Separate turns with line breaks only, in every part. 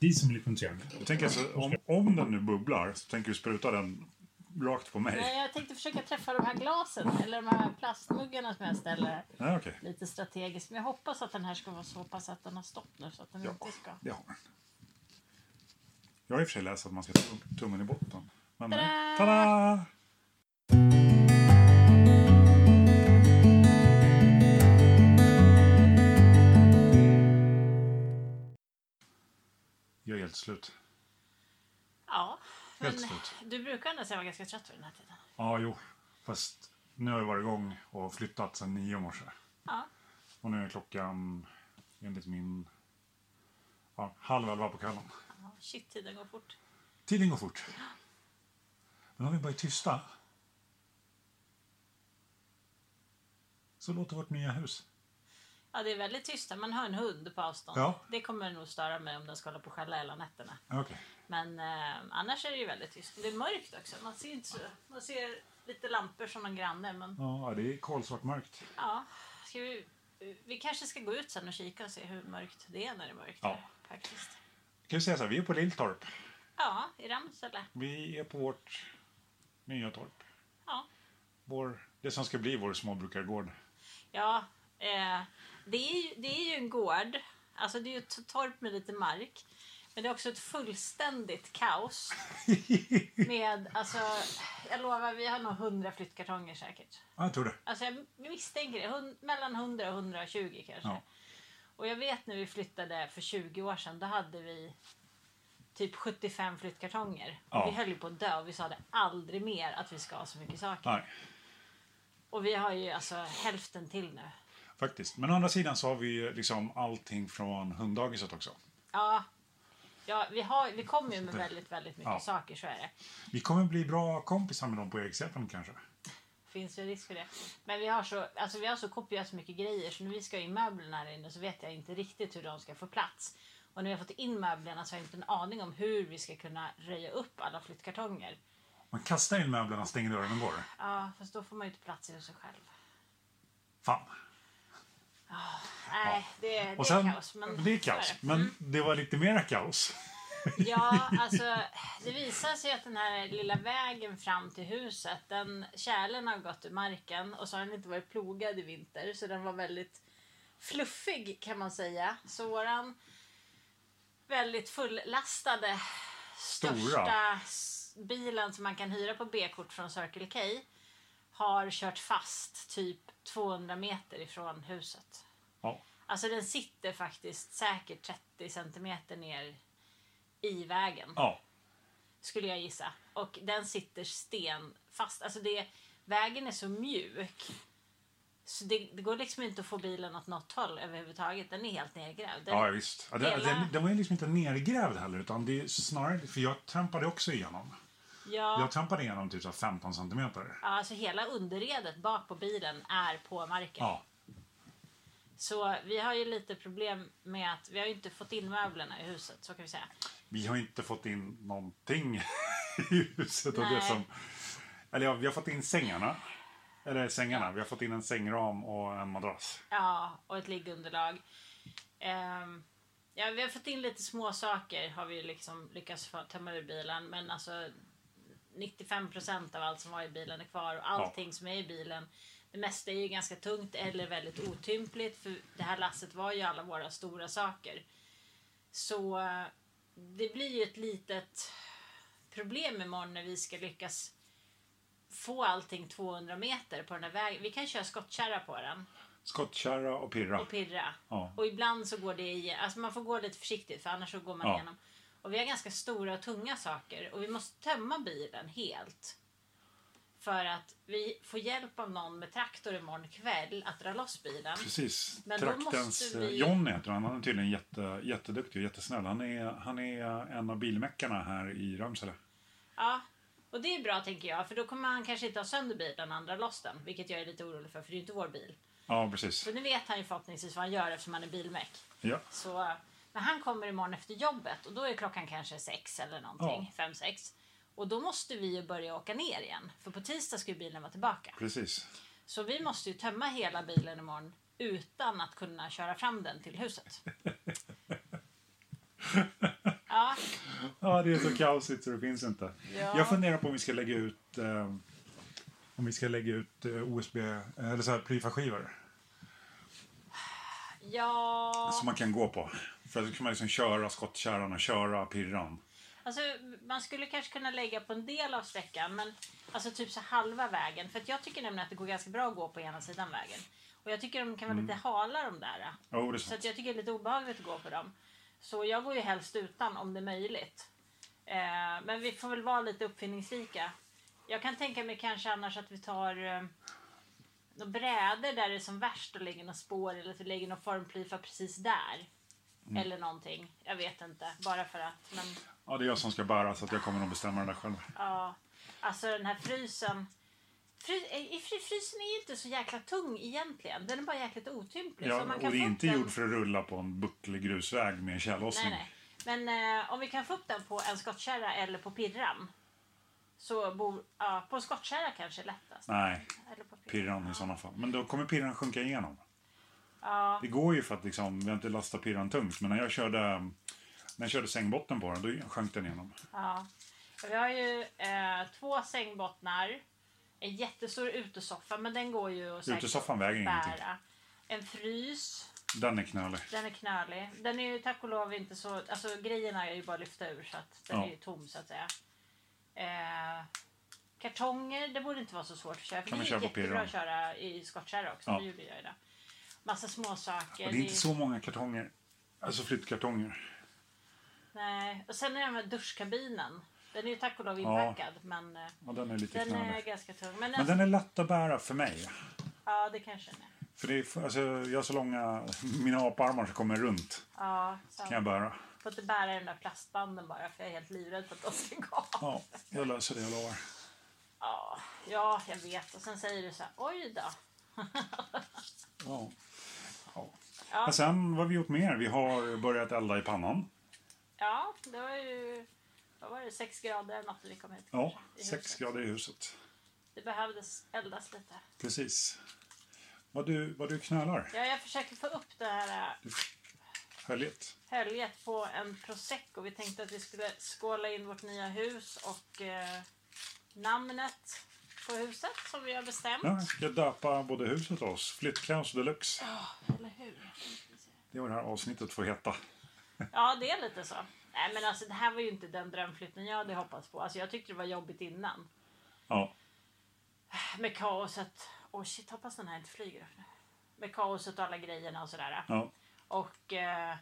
Diesel blir punkterad.
Jag tänker så, om, om den nu bubblar så tänker du spruta den rakt på mig.
Nej, jag tänkte försöka träffa de här glasen, eller de här plastmuggarna som jag ställer
Nej, okej.
lite strategiskt. Men jag hoppas att den här ska vara så pass att den har stått nu så att den
Ja,
inte ska...
det har den. Jag har i och för sig läst att man ska ta upp tummen i botten. Men, eh,
Tada!
tada! Jag är helt slut.
Ja, men
Helt slut.
du brukar ändå säga vara ganska trött vid den här tiden.
Ja, jo. Fast nu har jag varit igång och flyttat sedan nio i morse.
Ja.
Och nu är klockan, enligt min, ja, halv elva på kvällen.
ja. Shit, tiden går fort.
Tiden går fort. Men om vi bara är tysta så låter vårt nya hus.
Ja, det är väldigt tyst. här. Man hör en hund på avstånd.
Ja.
Det kommer nog störa mig om den ska hålla på och skälla hela nätterna.
Okej.
Men eh, annars är det ju väldigt tyst. Det är mörkt också. Man ser inte så. Man ser lite lampor som någon granne. Men
Ja, det är kolsvart mörkt.
ja, ska vi, vi kanske ska gå ut sen och kika och se hur mörkt det är när det är mörkt.
Ja.
här, Faktiskt.
Kan vi säga så här, vi är på Lilltorp.
Ja, i Ramsele.
Vi är på vårt nya torp.
Ja.
Vår, det som ska bli vår småbrukargård.
Ja, eh, det, är ju, det är ju en gård. Alltså det är ju ett torp med lite mark. Men det är också ett fullständigt kaos. Med, alltså, jag lovar, vi har nog hundra flyttkartonger säkert.
Ja, jag tror det.
Alltså jag misstänker det. Hun- mellan 100 och 120 kanske.
Ja.
Och jag vet när vi flyttade för 20 år sedan, då hade vi typ 75 flyttkartonger.
Ja.
Och vi höll ju på att dö och vi sa det aldrig mer att vi ska ha så mycket saker.
Nej,
Och vi har ju alltså hälften till nu.
faktiskt. Men å andra sidan så har vi ju liksom allting från hunddagiset också.
Ja, ja vi, har, vi kommer ju med
det-
väldigt, väldigt mycket
ja.
saker, så är det.
Vi kommer bli bra kompisar med dem på Erikshjälpen kanske.
Finns ju risk för det. Men vi har så, alltså vi har så kopiöst mycket grejer så när vi ska ha in möblerna här inne så vet jag inte riktigt hur de ska få plats. Och när vi har fått in möblerna så har jag inte en aning om hur vi ska kunna röja upp alla flyttkartonger.
Man kastar in möblerna, stänger dörren och går.
Ja, fast då får man ju inte plats i huset själv.
Fan.
Nej, det, det
Och sen,
är kaos. Men Mm.
det är
så är
kaos,
det.
men det var lite mera kaos.
Ja, alltså det visar sig att den här lilla vägen fram till huset, den kärlen har gått ur marken och så har den inte varit plogad i vinter så den var väldigt fluffig kan man säga. Så våran väldigt fullastade
Stora.
största s- bilen som man kan hyra på B-kort från Circle K har kört fast typ 200 meter ifrån huset.
Ja,
Alltså den sitter faktiskt säkert 30 centimeter ner i vägen
ja,
skulle jag gissa. Och den sitter stenfast. Alltså det, vägen är så mjuk. Så det, det går liksom inte att få bilen åt något håll överhuvudtaget. Den är helt nergrävd. Den-
ja visst. Ja, den,
Hela-
den, den var ju liksom inte nergrävd heller, utan det är snarare, för jag trampade också igenom.
ja,
Jag trampade igenom typ så här 15 centimeter.
ja, alltså hela underredet bak på bilen är på marken.
Ja,
Så vi har ju lite problem med att vi har ju inte fått in möblerna i huset. Så kan vi säga.
vi har inte fått in någonting i huset av det
Nej.
som... Eller ja, vi har fått in sängarna. Eller sängarna, vi har fått in en sängram och en madrass.
Ja, och ett liggunderlag. Ehm, ja, vi har fått in lite små saker har vi ju liksom lyckats få tömma ur bilen. Men alltså 95% av allt som var i bilen är kvar och allting som är i bilen. Det mesta är ju ganska tungt eller väldigt otympligt för det här lasset var ju alla våra stora saker. Så eh, det blir ju ett litet problem imorgon när vi ska lyckas få allting 200 meter på den här vägen. Vi kan köra skottkärra på den
Skottkärra och pirra.
och pirra.
Ja.
Och ibland så går det i, alltså man får gå lite försiktigt för annars så går man
Ja.
igenom. Och vi har ganska stora och tunga saker och vi måste tömma bilen helt. För att vi får hjälp av någon med traktor imorgon kväll att dra loss bilen.
Precis.
Men då
Traktens...
måste vi-
eh, Johnny heter han. Han är tydligen jätte, jätteduktig och jättesnäll. Han är, han är en av bilmeckarna här i Ramsele.
Ja, och det är bra tänker jag för då kommer han kanske inte ha sönder bilen när han drar loss den. Vilket jag är lite orolig för för det är ju inte vår bil.
Ja, precis.
Så nu vet han ju förhoppningsvis vad han gör eftersom han är bilmek.
Ja.
Så, men han kommer imorgon efter jobbet och då är klockan kanske sex eller någonting. Fem, sex. Och då måste vi ju börja åka ner igen. För på tisdag ska ju bilen vara tillbaka.
Precis.
Så vi måste ju tömma hela bilen imorgon utan att kunna köra fram den till huset. Ja,
Ja, det är så kaosigt så det finns inte.
Ja.
Jag funderar på om vi ska lägga ut eh, om vi ska lägga ut eh, USB eller så här plyfaskivor
Ja.
som man kan gå på. För då kan man liksom köra skottkärran och köra pirran.
Alltså, man skulle kanske kunna lägga på en del av sträckan, men alltså typ så halva vägen. För att jag tycker nämligen att det går ganska bra att gå på ena sidan vägen. Och jag tycker de kan vara lite hala de där.
Jo, det är
Så
sant.
att jag tycker det är lite obehagligt att gå på dem. Så jag går ju helst utan om det är möjligt. Eh, men vi får väl vara lite uppfinningsrika. Jag kan tänka mig kanske annars att vi tar eh, några brädor där det är som värst och lägger några spår eller att vi lägger någon formplyfa precis där.
Mm.
Eller någonting. Jag vet inte. Bara för att. Men...
Ja, det är jag som ska bära så att jag kommer nog bestämma det där själv.
Ja, alltså den här frysen. Fry, eh, i fry, frysen är ju inte så jäkla tung egentligen. Den är bara jäkligt otymplig. så
Ja,
om man
och
kan
det är
få upp
inte
den-
gjord för att rulla på en bucklig grusväg med en
Nej,
tjällossning.
nej. Men eh, om vi kan få upp den på en skottkärra eller på pirran. Så bor, ja, på en skottkärra kanske är lättast.
Nej,
Eller på pirran.
pirran i sådana fall. Men då kommer pirran sjunka igenom.
Ja,
Det går ju för att liksom, vi har inte lastat pirran tungt, men när jag körde, när jag körde sängbotten på den, då sjönk den igenom.
ja. Vi har ju eh, två sängbottnar. En jättestor utesoffa, men den går ju att säkert
Utesoffan väger ingenting.
bära. En frys.
Den är knölig.
Den är knölig. Den är ju tack och lov inte så... Alltså grejerna är ju bara att lyfta ur så att den
Ja.
är ju tom så att säga. Eh, kartonger, det borde inte vara så svårt att köra. För
Kan
det
man
är
köra på
jättebra
pirran?
att köra i skottkärra också.
Ja.
Det gjorde jag ju det. Massa småsaker.
Och det är inte så många kartonger, alltså flyttkartonger.
Nej. Och sen är den här duschkabinen. Den är ju tack och lov inpackad men eh,
Ja, den är lite
den är
knölig.
ganska tung. Men,
Men
alltså,
den är lätt att bära för mig.
ja det kanske den är.
För det är, alltså, jag har så långa, mina aparmar som kommer runt
Ja, så.
kan jag bära.
Får inte bära den där plastbanden bara för jag är helt livrädd för att de ska gå av.
Ja, jag löser det, jag lovar.
Ja, ja, jag vet. Och sen säger du så här, oj då.
Ja. Ja.
Ja.
Men sen, vad har vi gjort mer? Vi har börjat elda i pannan.
Ja, det var ju vad var det, sex grader eller något när vi kom hit.
Ja,
kanske, i
sex
huset.
grader i huset.
Det behövdes eldas lite.
Precis. Vad du, vad du knölar.
Ja, jag försöker få upp det här äh,
Härligt.
höljet på en prosecco. Vi tänkte att vi skulle skåla in vårt nya hus och eh, namnet på huset som vi har bestämt.
Ja, jag ska döpa både huset och oss. Flyttkaos deluxe.
Eller hur?
Det är vad det här avsnittet får heta.
Ja, det är lite så. Nej, men alltså det här var ju inte den drömflytten jag hade hoppats på. Alltså jag tyckte det var jobbigt innan.
Ja.
Med kaoset. Åh shit, hoppas den här inte flyger upp nu. Med kaoset och alla grejerna och sådär.
ja.
Och eh,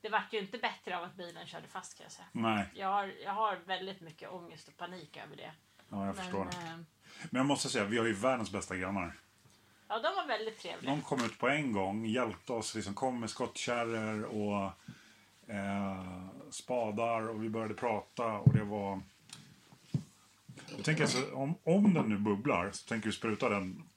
det vart ju inte bättre av att bilen körde fast kan jag säga.
Nej,
Jag har, jag har väldigt mycket ångest och panik över det.
ja, jag förstår. det.
eh,
Men jag måste säga, vi har ju världens bästa grannar.
ja, de var väldigt trevliga.
De kom ut på en gång, hjälpte oss, liksom kom med skottkärror och eh, spadar och vi började prata och det var... Jag tänker alltså, om, om den nu bubblar så tänker du spruta den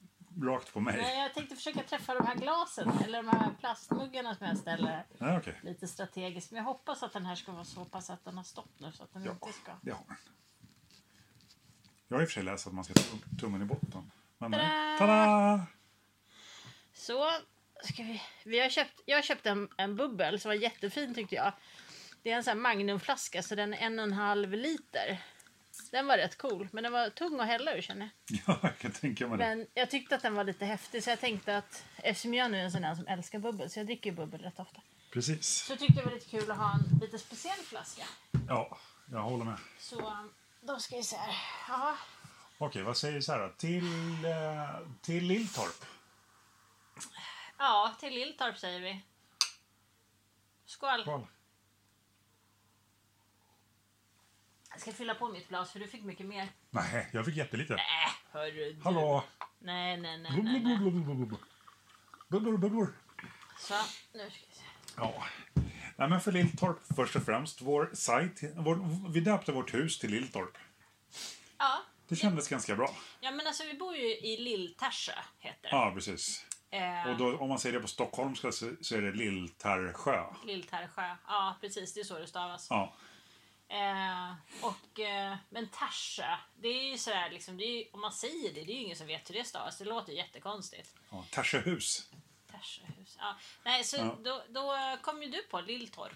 rakt på mig.
Nej, jag tänkte försöka träffa de här glasen eller de här plastmuggarna som jag ställer här,
Nej, okej.
lite strategiskt. Men jag hoppas att den här ska vara så pass att den har stått nu så att den
Ja,
inte ska...
det har den. Jag har i och för sig läst att man ska ta upp tummen i botten. Men,
Ta-da!
nej. Tada!
Så, ska vi... vi har köpt, jag köpte en, en bubbel som var jättefin tyckte jag. Det är en sån här magnumflaska så den är en och en halv liter. Den var rätt cool, men den var tung att hälla ur känner jag.
Ja, jag kan tänka mig det.
Men jag tyckte att den var lite häftig så jag tänkte att eftersom jag nu är en sån där som älskar bubbel så jag dricker ju bubbel rätt ofta.
Precis.
Så jag tyckte det var lite kul att ha en lite speciell flaska.
Ja, jag håller med.
Så då ska vi se här. Ja,
Okej, vad säger vi så här då? Till, eh, till Lilltorp.
ja till Lilltorp säger vi. Skål!
Skål.
Jag ska fylla på mitt glas för du fick mycket mer.
Nej, jag fick jättelite.
Äh, hörru du.
Hallå!
Nej, nej, nej, nej, nej.
Bubblor, bubblor, bubblor.
Så, nu ska vi se.
Ja. Nej, men för Lilltorp först och främst. Vår sajt, vår, vi döpte vårt hus till Lilltorp.
Ja.
Det kändes ganska bra.
ja, men alltså vi bor ju i Lilltärsö heter det.
Ja, precis.
Eh,
Och då, om man säger det på stockholmska så, så är det Lilltärsjö.
Lilltärsjö. Eh, Ja, precis. Det är så det stavas.
Ja.
Eh, och, eh, men Tarsha, det är ju sådär liksom, det är ju, om man säger det, det är ju ingen som vet hur det stavas. Det låter ju jättekonstigt.
ja. Tärsjöhus.
Tarsahus. Ja. Nej, så
Ja.
då, då kom ju du på Lilltorp.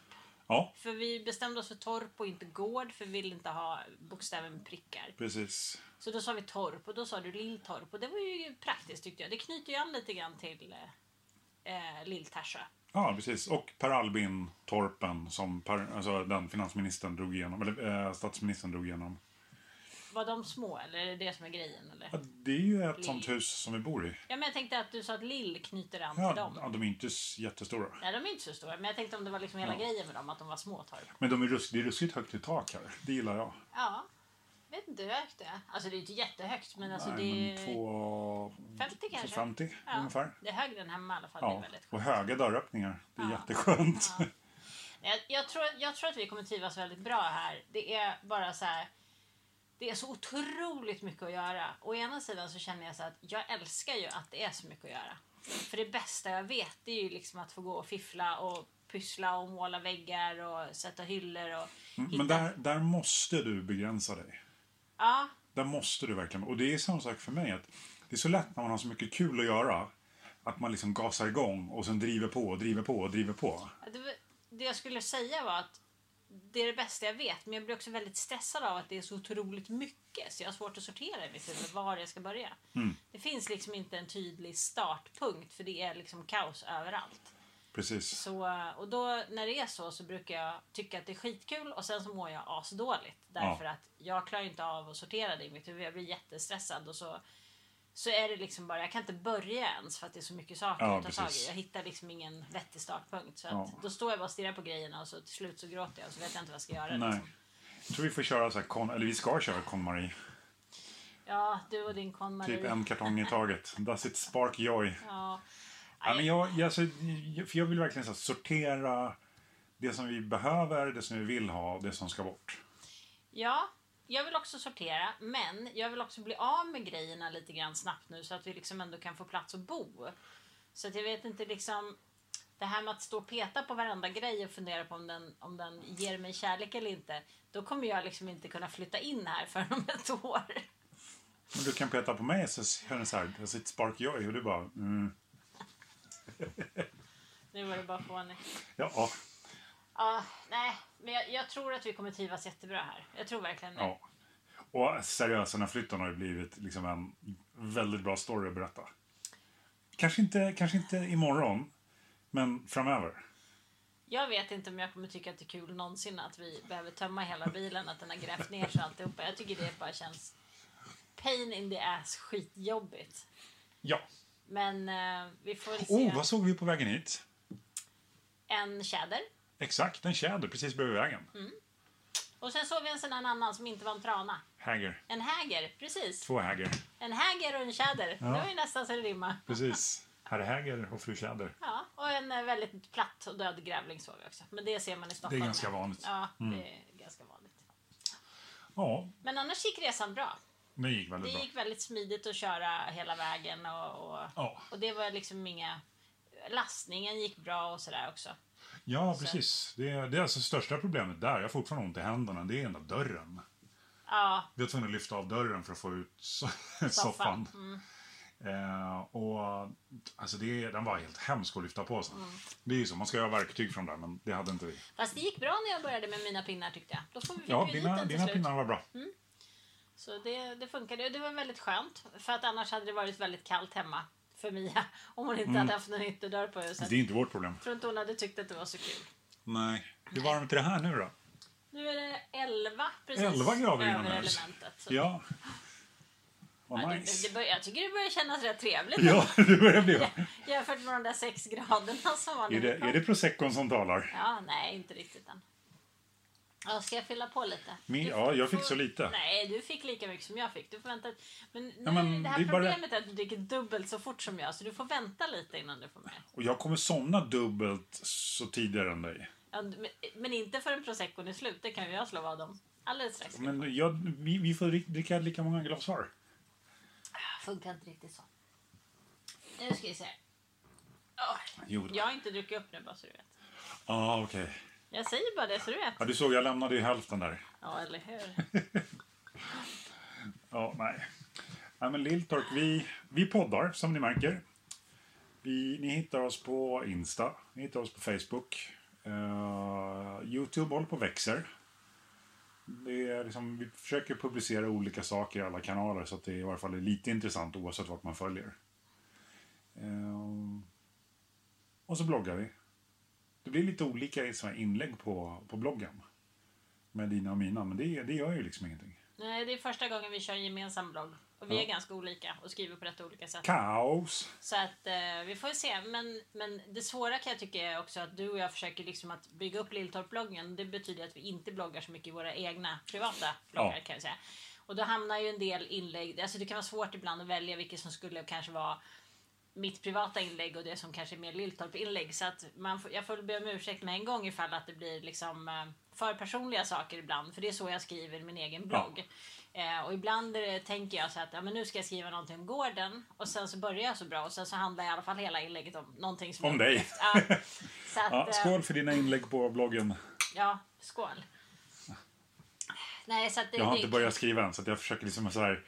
Ja,
För vi bestämde oss för torp och inte gård för vi ville inte ha bokstäver med prickar.
precis.
Så då sa vi torp och då sa du lilltorp och det var ju praktiskt tyckte jag. Det knyter ju an lite grann till eh, eh, Lill-Tärsjö.
Ja, precis. Och Per Albin Torpen, som per, alltså den finansministern drog igenom, eller eh, statsministern drog igenom.
Var de små eller är det det som är grejen? Eller?
Ja, det är ju ett sånt hus som vi bor i.
Ja men jag tänkte att du sa att lill knyter an
Ja,
till dem.
ja, de är inte s- jättestora.
Nej de är inte så stora men jag tänkte om det var liksom hela
Ja.
grejen med dem att de var små torp.
Men de är rusk, det är ruskigt högt i tak här. Det gillar jag.
Ja. Vet inte hur högt det är. Alltså det är ju inte jättehögt men alltså
Nej,
det är
men två...
50 kanske?
50
Ja.
ungefär.
Det är högre än hemma i alla fall. Det är
Ja.
väldigt skönt.
Och höga dörröppningar. Det är
Ja.
jätteskönt.
Ja. Jag, jag, tror, jag tror att vi kommer trivas väldigt bra här. Det är bara så här. Det är så otroligt mycket att göra. Å ena sidan så känner jag så att jag älskar ju att det är så mycket att göra. För det bästa jag vet det är ju liksom att få gå och fiffla och pyssla och måla väggar och sätta hyllor och hitta.
Mm, Men där, där måste du begränsa dig.
Ja,
Där måste du verkligen. Och det är samma sak för mig. Att det är så lätt när man har så mycket kul att göra. Att man liksom gasar igång och sen driver på och driver på och driver på.
det, var- det jag skulle säga var att det är det bästa jag vet men jag blir också väldigt stressad av att det är så otroligt mycket så jag har svårt att sortera i mitt huvud var jag ska börja. Det finns liksom inte en tydlig startpunkt för det är liksom kaos överallt.
Precis.
Så, och då när det är så så brukar jag tycka att det är skitkul och sen så mår jag asdåligt. Därför att jag klarar inte av att sortera det i mitt huvud. Jag blir jättestressad och så, så är det liksom bara, jag kan inte börja ens för att det är så mycket saker
Ja,
att ta tag
precis.
i. Jag hittar liksom ingen vettig startpunkt. Så att,
Ja.
då står jag bara och stirrar på grejerna och så till slut så gråter jag och så vet jag inte vad jag ska göra.
Nej.
Liksom.
Jag tror vi får köra så här, kon, eller vi ska köra KonMari.
Ja, du och din KonMari.
Typ en kartong i taget. Does it spark joy?
Ja.
Ja, men jag, jag, alltså, jag- för jag vill verkligen så här, sortera det som vi behöver, det som vi vill ha och det som ska bort.
Ja, jag vill också sortera, men jag vill också bli av med grejerna lite grann snabbt nu så att vi liksom ändå kan få plats att bo. Så att jag vet inte liksom det här med att stå och peta på varenda grej och fundera på om den, om den ger mig kärlek eller inte. Då kommer jag liksom inte kunna flytta in här förrän om ett år.
Men du kan peta på mig så känner jag så här, does it spark joy? Och du bara, mm,
Nu var det bara fånigt.
ja,
Ja, nej, men jag, jag tror att vi kommer trivas jättebra här. Jag tror verkligen det.
ja. Och seriöst, den här flytten har ju blivit liksom en väldigt bra story att berätta. Kanske inte, kanske inte imorgon, men framöver.
Jag vet inte om jag kommer tycka att det är kul någonsin att vi behöver tömma hela bilen, att den har grävt ner sig alltihopa. Jag tycker det bara känns pain in the ass, skitjobbigt.
Ja.
Men eh, vi får väl se.
Oh, vad såg vi på vägen hit?
En tjäder.
Exakt, en tjäder precis bredvid vägen.
Och sen såg vi en sån här annan som inte var en trana.
Häger.
En häger, precis.
Två häger.
En häger och en tjäder. Det var ju nästan så det rimmade.
Precis. Herr Häger och fru Tjäder.
Ja, och en eh, väldigt platt och död grävling såg vi också. Men det ser man i
Det
Stockholm.
är ganska vanligt. Mm.
Ja, det är ganska vanligt.
Ja,
Men annars gick resan bra.
det gick
Det
väldigt bra.
gick väldigt smidigt att köra hela vägen och, och,
Ja.
och det var liksom inga... Lastningen gick bra och sådär också.
Ja, precis. Det är, det är alltså största problemet där. Jag har fortfarande ont i händerna. Det är den där dörren.
Ja,
Vi var tvungna att lyfta av dörren för att få ut so- soffan.
Mm.
Eh, och alltså det, är- Den var helt hemsk att lyfta på sen.
Mm.
Det är ju så, man ska ju ha verktyg från där, men det hade inte vi.
Fast det gick bra när jag började med mina pinnar tyckte jag. Då fick
Ja,
vi dina,
dina,
hit den
dina
till slut. Mm.
pinnar var bra.
Så det, det funkade och det var väldigt skönt. För att annars hade det varit väldigt kallt hemma för Mia. Om hon inte hade haft någon ytterdörr på huset.
Mm. Det är inte vårt problem.
Jag tror inte hon hade tyckt att det var så kul.
Nej. Hur varmt är det här nu då?
Nu är det 11 precis
11 grader
över
inomhus.
elementet. Så
Ja.
ja,
Vad
det-
nice.
det börjar, jag tycker det börjar kännas rätt trevligt.
Ja, det börjar bli varmt.
Jämfört med de där sex graderna som var
Är
nu.
det, är det proseccon som talar?
Ja, nej, inte riktigt än. Ja, ska jag fylla på lite?
Min-
Du
ja, jag fick
får-
så lite.
Nej, du fick lika mycket som jag fick. Du får vänta. Men, nu,
Ja, men
det här
det är bara-
problemet är att du dricker dubbelt så fort som jag, så du får vänta lite innan du får med.
Och jag kommer somna dubbelt så tidigare än dig.
Ja, men, men inte förrän proseccon är slut, det kan ju jag slå vad om. Alldeles strax.
Men jag, vi, vi får drick- dricka lika många glas var.
Funkar inte riktigt så. Nu ska vi se. Åh,
Jo.
jag har inte druckit upp nu bara så du vet.
ah, okej.
Jag säger bara det så du vet.
Ja, du såg, jag lämnade ju hälften där.
Ja, eller hur?
Ja, nej. Nej, men Lilltork, vi, vi poddar som ni märker. Vi, ni hittar oss på Insta, ni hittar oss på Facebook. Eh, Eh, Youtube håller på och växer. Det är liksom, vi försöker publicera olika saker i alla kanaler så att det i varje fall är lite intressant oavsett vart man följer. Eh, och så bloggar vi. Det blir lite olika i såna här inlägg på, på bloggen. Med dina och mina, men det, det gör ju liksom ingenting.
Nej, det är första gången vi kör en gemensam blogg. Och vi
Ja.
är ganska olika och skriver på rätt olika sätt.
Kaos!
Så att eh, vi får se. Men, men det svåra kan jag tycka är också att du och jag försöker liksom att bygga upp Lilltorp-bloggen. Det betyder att vi inte bloggar så mycket i våra egna privata bloggar
Ja.
kan jag säga. Och då hamnar ju en del inlägg, alltså det kan vara svårt ibland att välja vilket som skulle kanske vara mitt privata inlägg och det som kanske är mer Lilltorp-inlägg. Så att man får, jag får be om ursäkt med en gång ifall att det blir liksom eh, för personliga saker ibland. För det är så jag skriver i min egen blogg. Eh, och ibland är det, tänker jag så att ja, men nu ska jag skriva någonting om gården och sen så börjar jag så bra och sen så handlar i alla fall hela inlägget om någonting som
Om
jag-
dig!
Ja, så att,
Ja,
eh,
skål för dina inlägg på bloggen.
Ja, skål. Nej, så att det,
Jag har
det-
inte börjat skriva än så att jag försöker liksom så här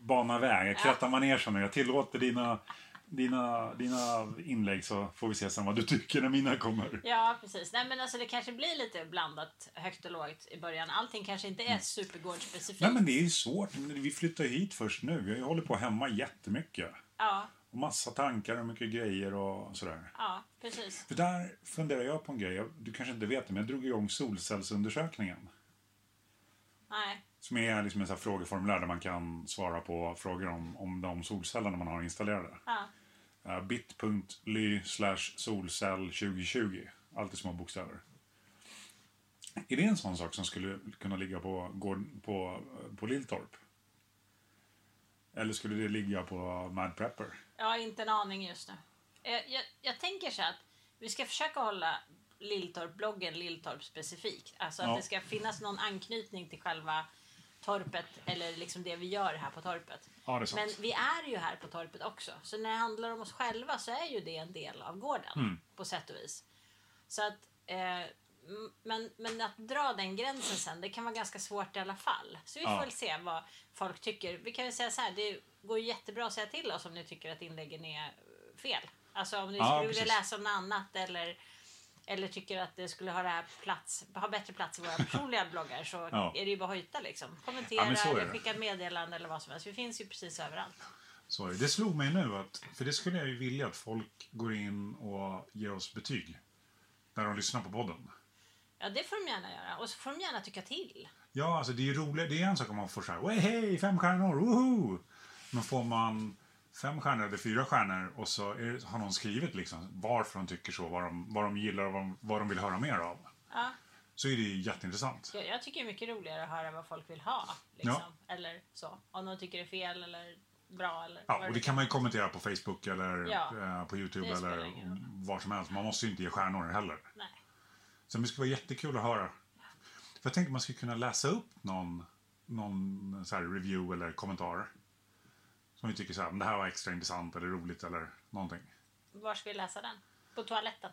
bana väg. Jag krattar manegen nu. Jag tillåter dina, dina, dina inlägg så får vi se sen vad du tycker när mina kommer.
Ja, precis. Nej, men alltså, det kanske blir lite blandat högt och lågt i början. Allting kanske inte är supergårdsspecifikt.
Mm. Nej men det är ju svårt. Vi flyttar hit först nu. Jag håller på hemma jättemycket.
Ja,
Och massa tankar och mycket grejer och sådär.
ja, precis.
För där funderar jag på en grej. Jag- Du kanske inte vet det men jag drog igång solcellsundersökningen.
Nej.
Som är liksom en sån här frågeformulär där man kan svara på frågor om, om de solcellerna man har installerade.
Ja,
Uh, bit.ly slash solcell 2020. Alltid små bokstäver. Är det en sån sak som skulle kunna ligga på, gård, på, eh, på Lilltorp? Eller skulle det ligga på Mad Prepper?
jag har inte en aning just nu. Eh, Jag, jag tänker så att vi ska försöka hålla Lilltorp-bloggen Lilltorp specifikt. Alltså att
Ja.
det ska finnas någon anknytning till själva torpet eller liksom det vi gör här på torpet.
Ja, det är
Men vi är ju här på torpet också. Så när det handlar om oss själva så är ju det en del av gården
Mm.
på sätt och vis. Så att, eh, m- men, men att dra den gränsen sen, det kan vara ganska svårt i alla fall. Så vi får
Ja.
väl se vad folk tycker. Vi kan väl säga så här, det går ju jättebra att säga till oss om ni tycker att inläggen är eh, fel. Alltså om ni
Ja,
skulle vilja
precis.
läsa om något annat eller eller tycker att det skulle ha, det här plats, ha bättre plats i våra personliga bloggar så
Ja.
är det ju bara att hojta liksom.
Ja,
Kommentera,
men så är
eller
det.
skicka ett meddelande eller vad som helst. Vi finns ju precis överallt.
Så är det. det slog mig nu, att, för det skulle jag ju vilja att folk går in och ger oss betyg. När de lyssnar på podden.
Ja, det får de gärna göra. Och så får de gärna tycka till.
Ja, alltså det är ju roligt. Det är en sak om man får så här, "Oj, hej, fem stjärnor, woho! Men får man fem stjärnor eller fyra stjärnor och så är, det- har någon skrivit liksom varför de tycker så, vad de, vad de gillar och vad de, vad de vill höra mer av.
Ja,
Så är det ju jätteintressant.
jag, jag tycker det är mycket roligare att höra vad folk vill ha. Liksom. Eller så. Om de tycker det är fel eller bra. Eller vad
Ja, och det kan man ju kommentera på Facebook eller
Ja,
eh, på Youtube
det spelar
eller
ingen roll.
var som helst. Man måste ju inte ge stjärnor heller.
Nej.
Så det skulle vara jättekul att höra. För jag tänkte man skulle kunna läsa upp någon, någon så här review eller kommentar. Som vi tycker så här, "Men det här var extra intressant eller roligt eller någonting.
Var ska vi läsa den? På toaletten?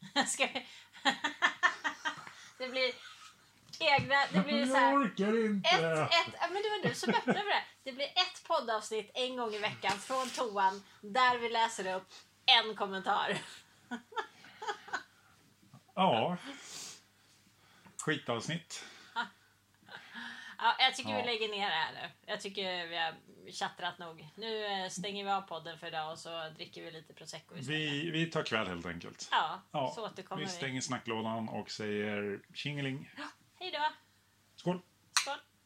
ska vi... det blir egna... Det blir så här...
orkar inte!
Ett, ett, ja, men det var du som öppnade för det. Det blir ett poddavsnitt en gång i veckan från toan där vi läser upp en kommentar.
Ja. Skitavsnitt.
Ja, jag tycker
Ja.
vi lägger ner det här nu. Jag tycker vi har tjattrat nog. Nu eh, stänger vi av podden för idag och så dricker vi lite prosecco istället.
Vi, vi tar kväll helt enkelt.
Ja,
Ja,
så återkommer
vi
vi.
stänger snacklådan och säger tjingeling.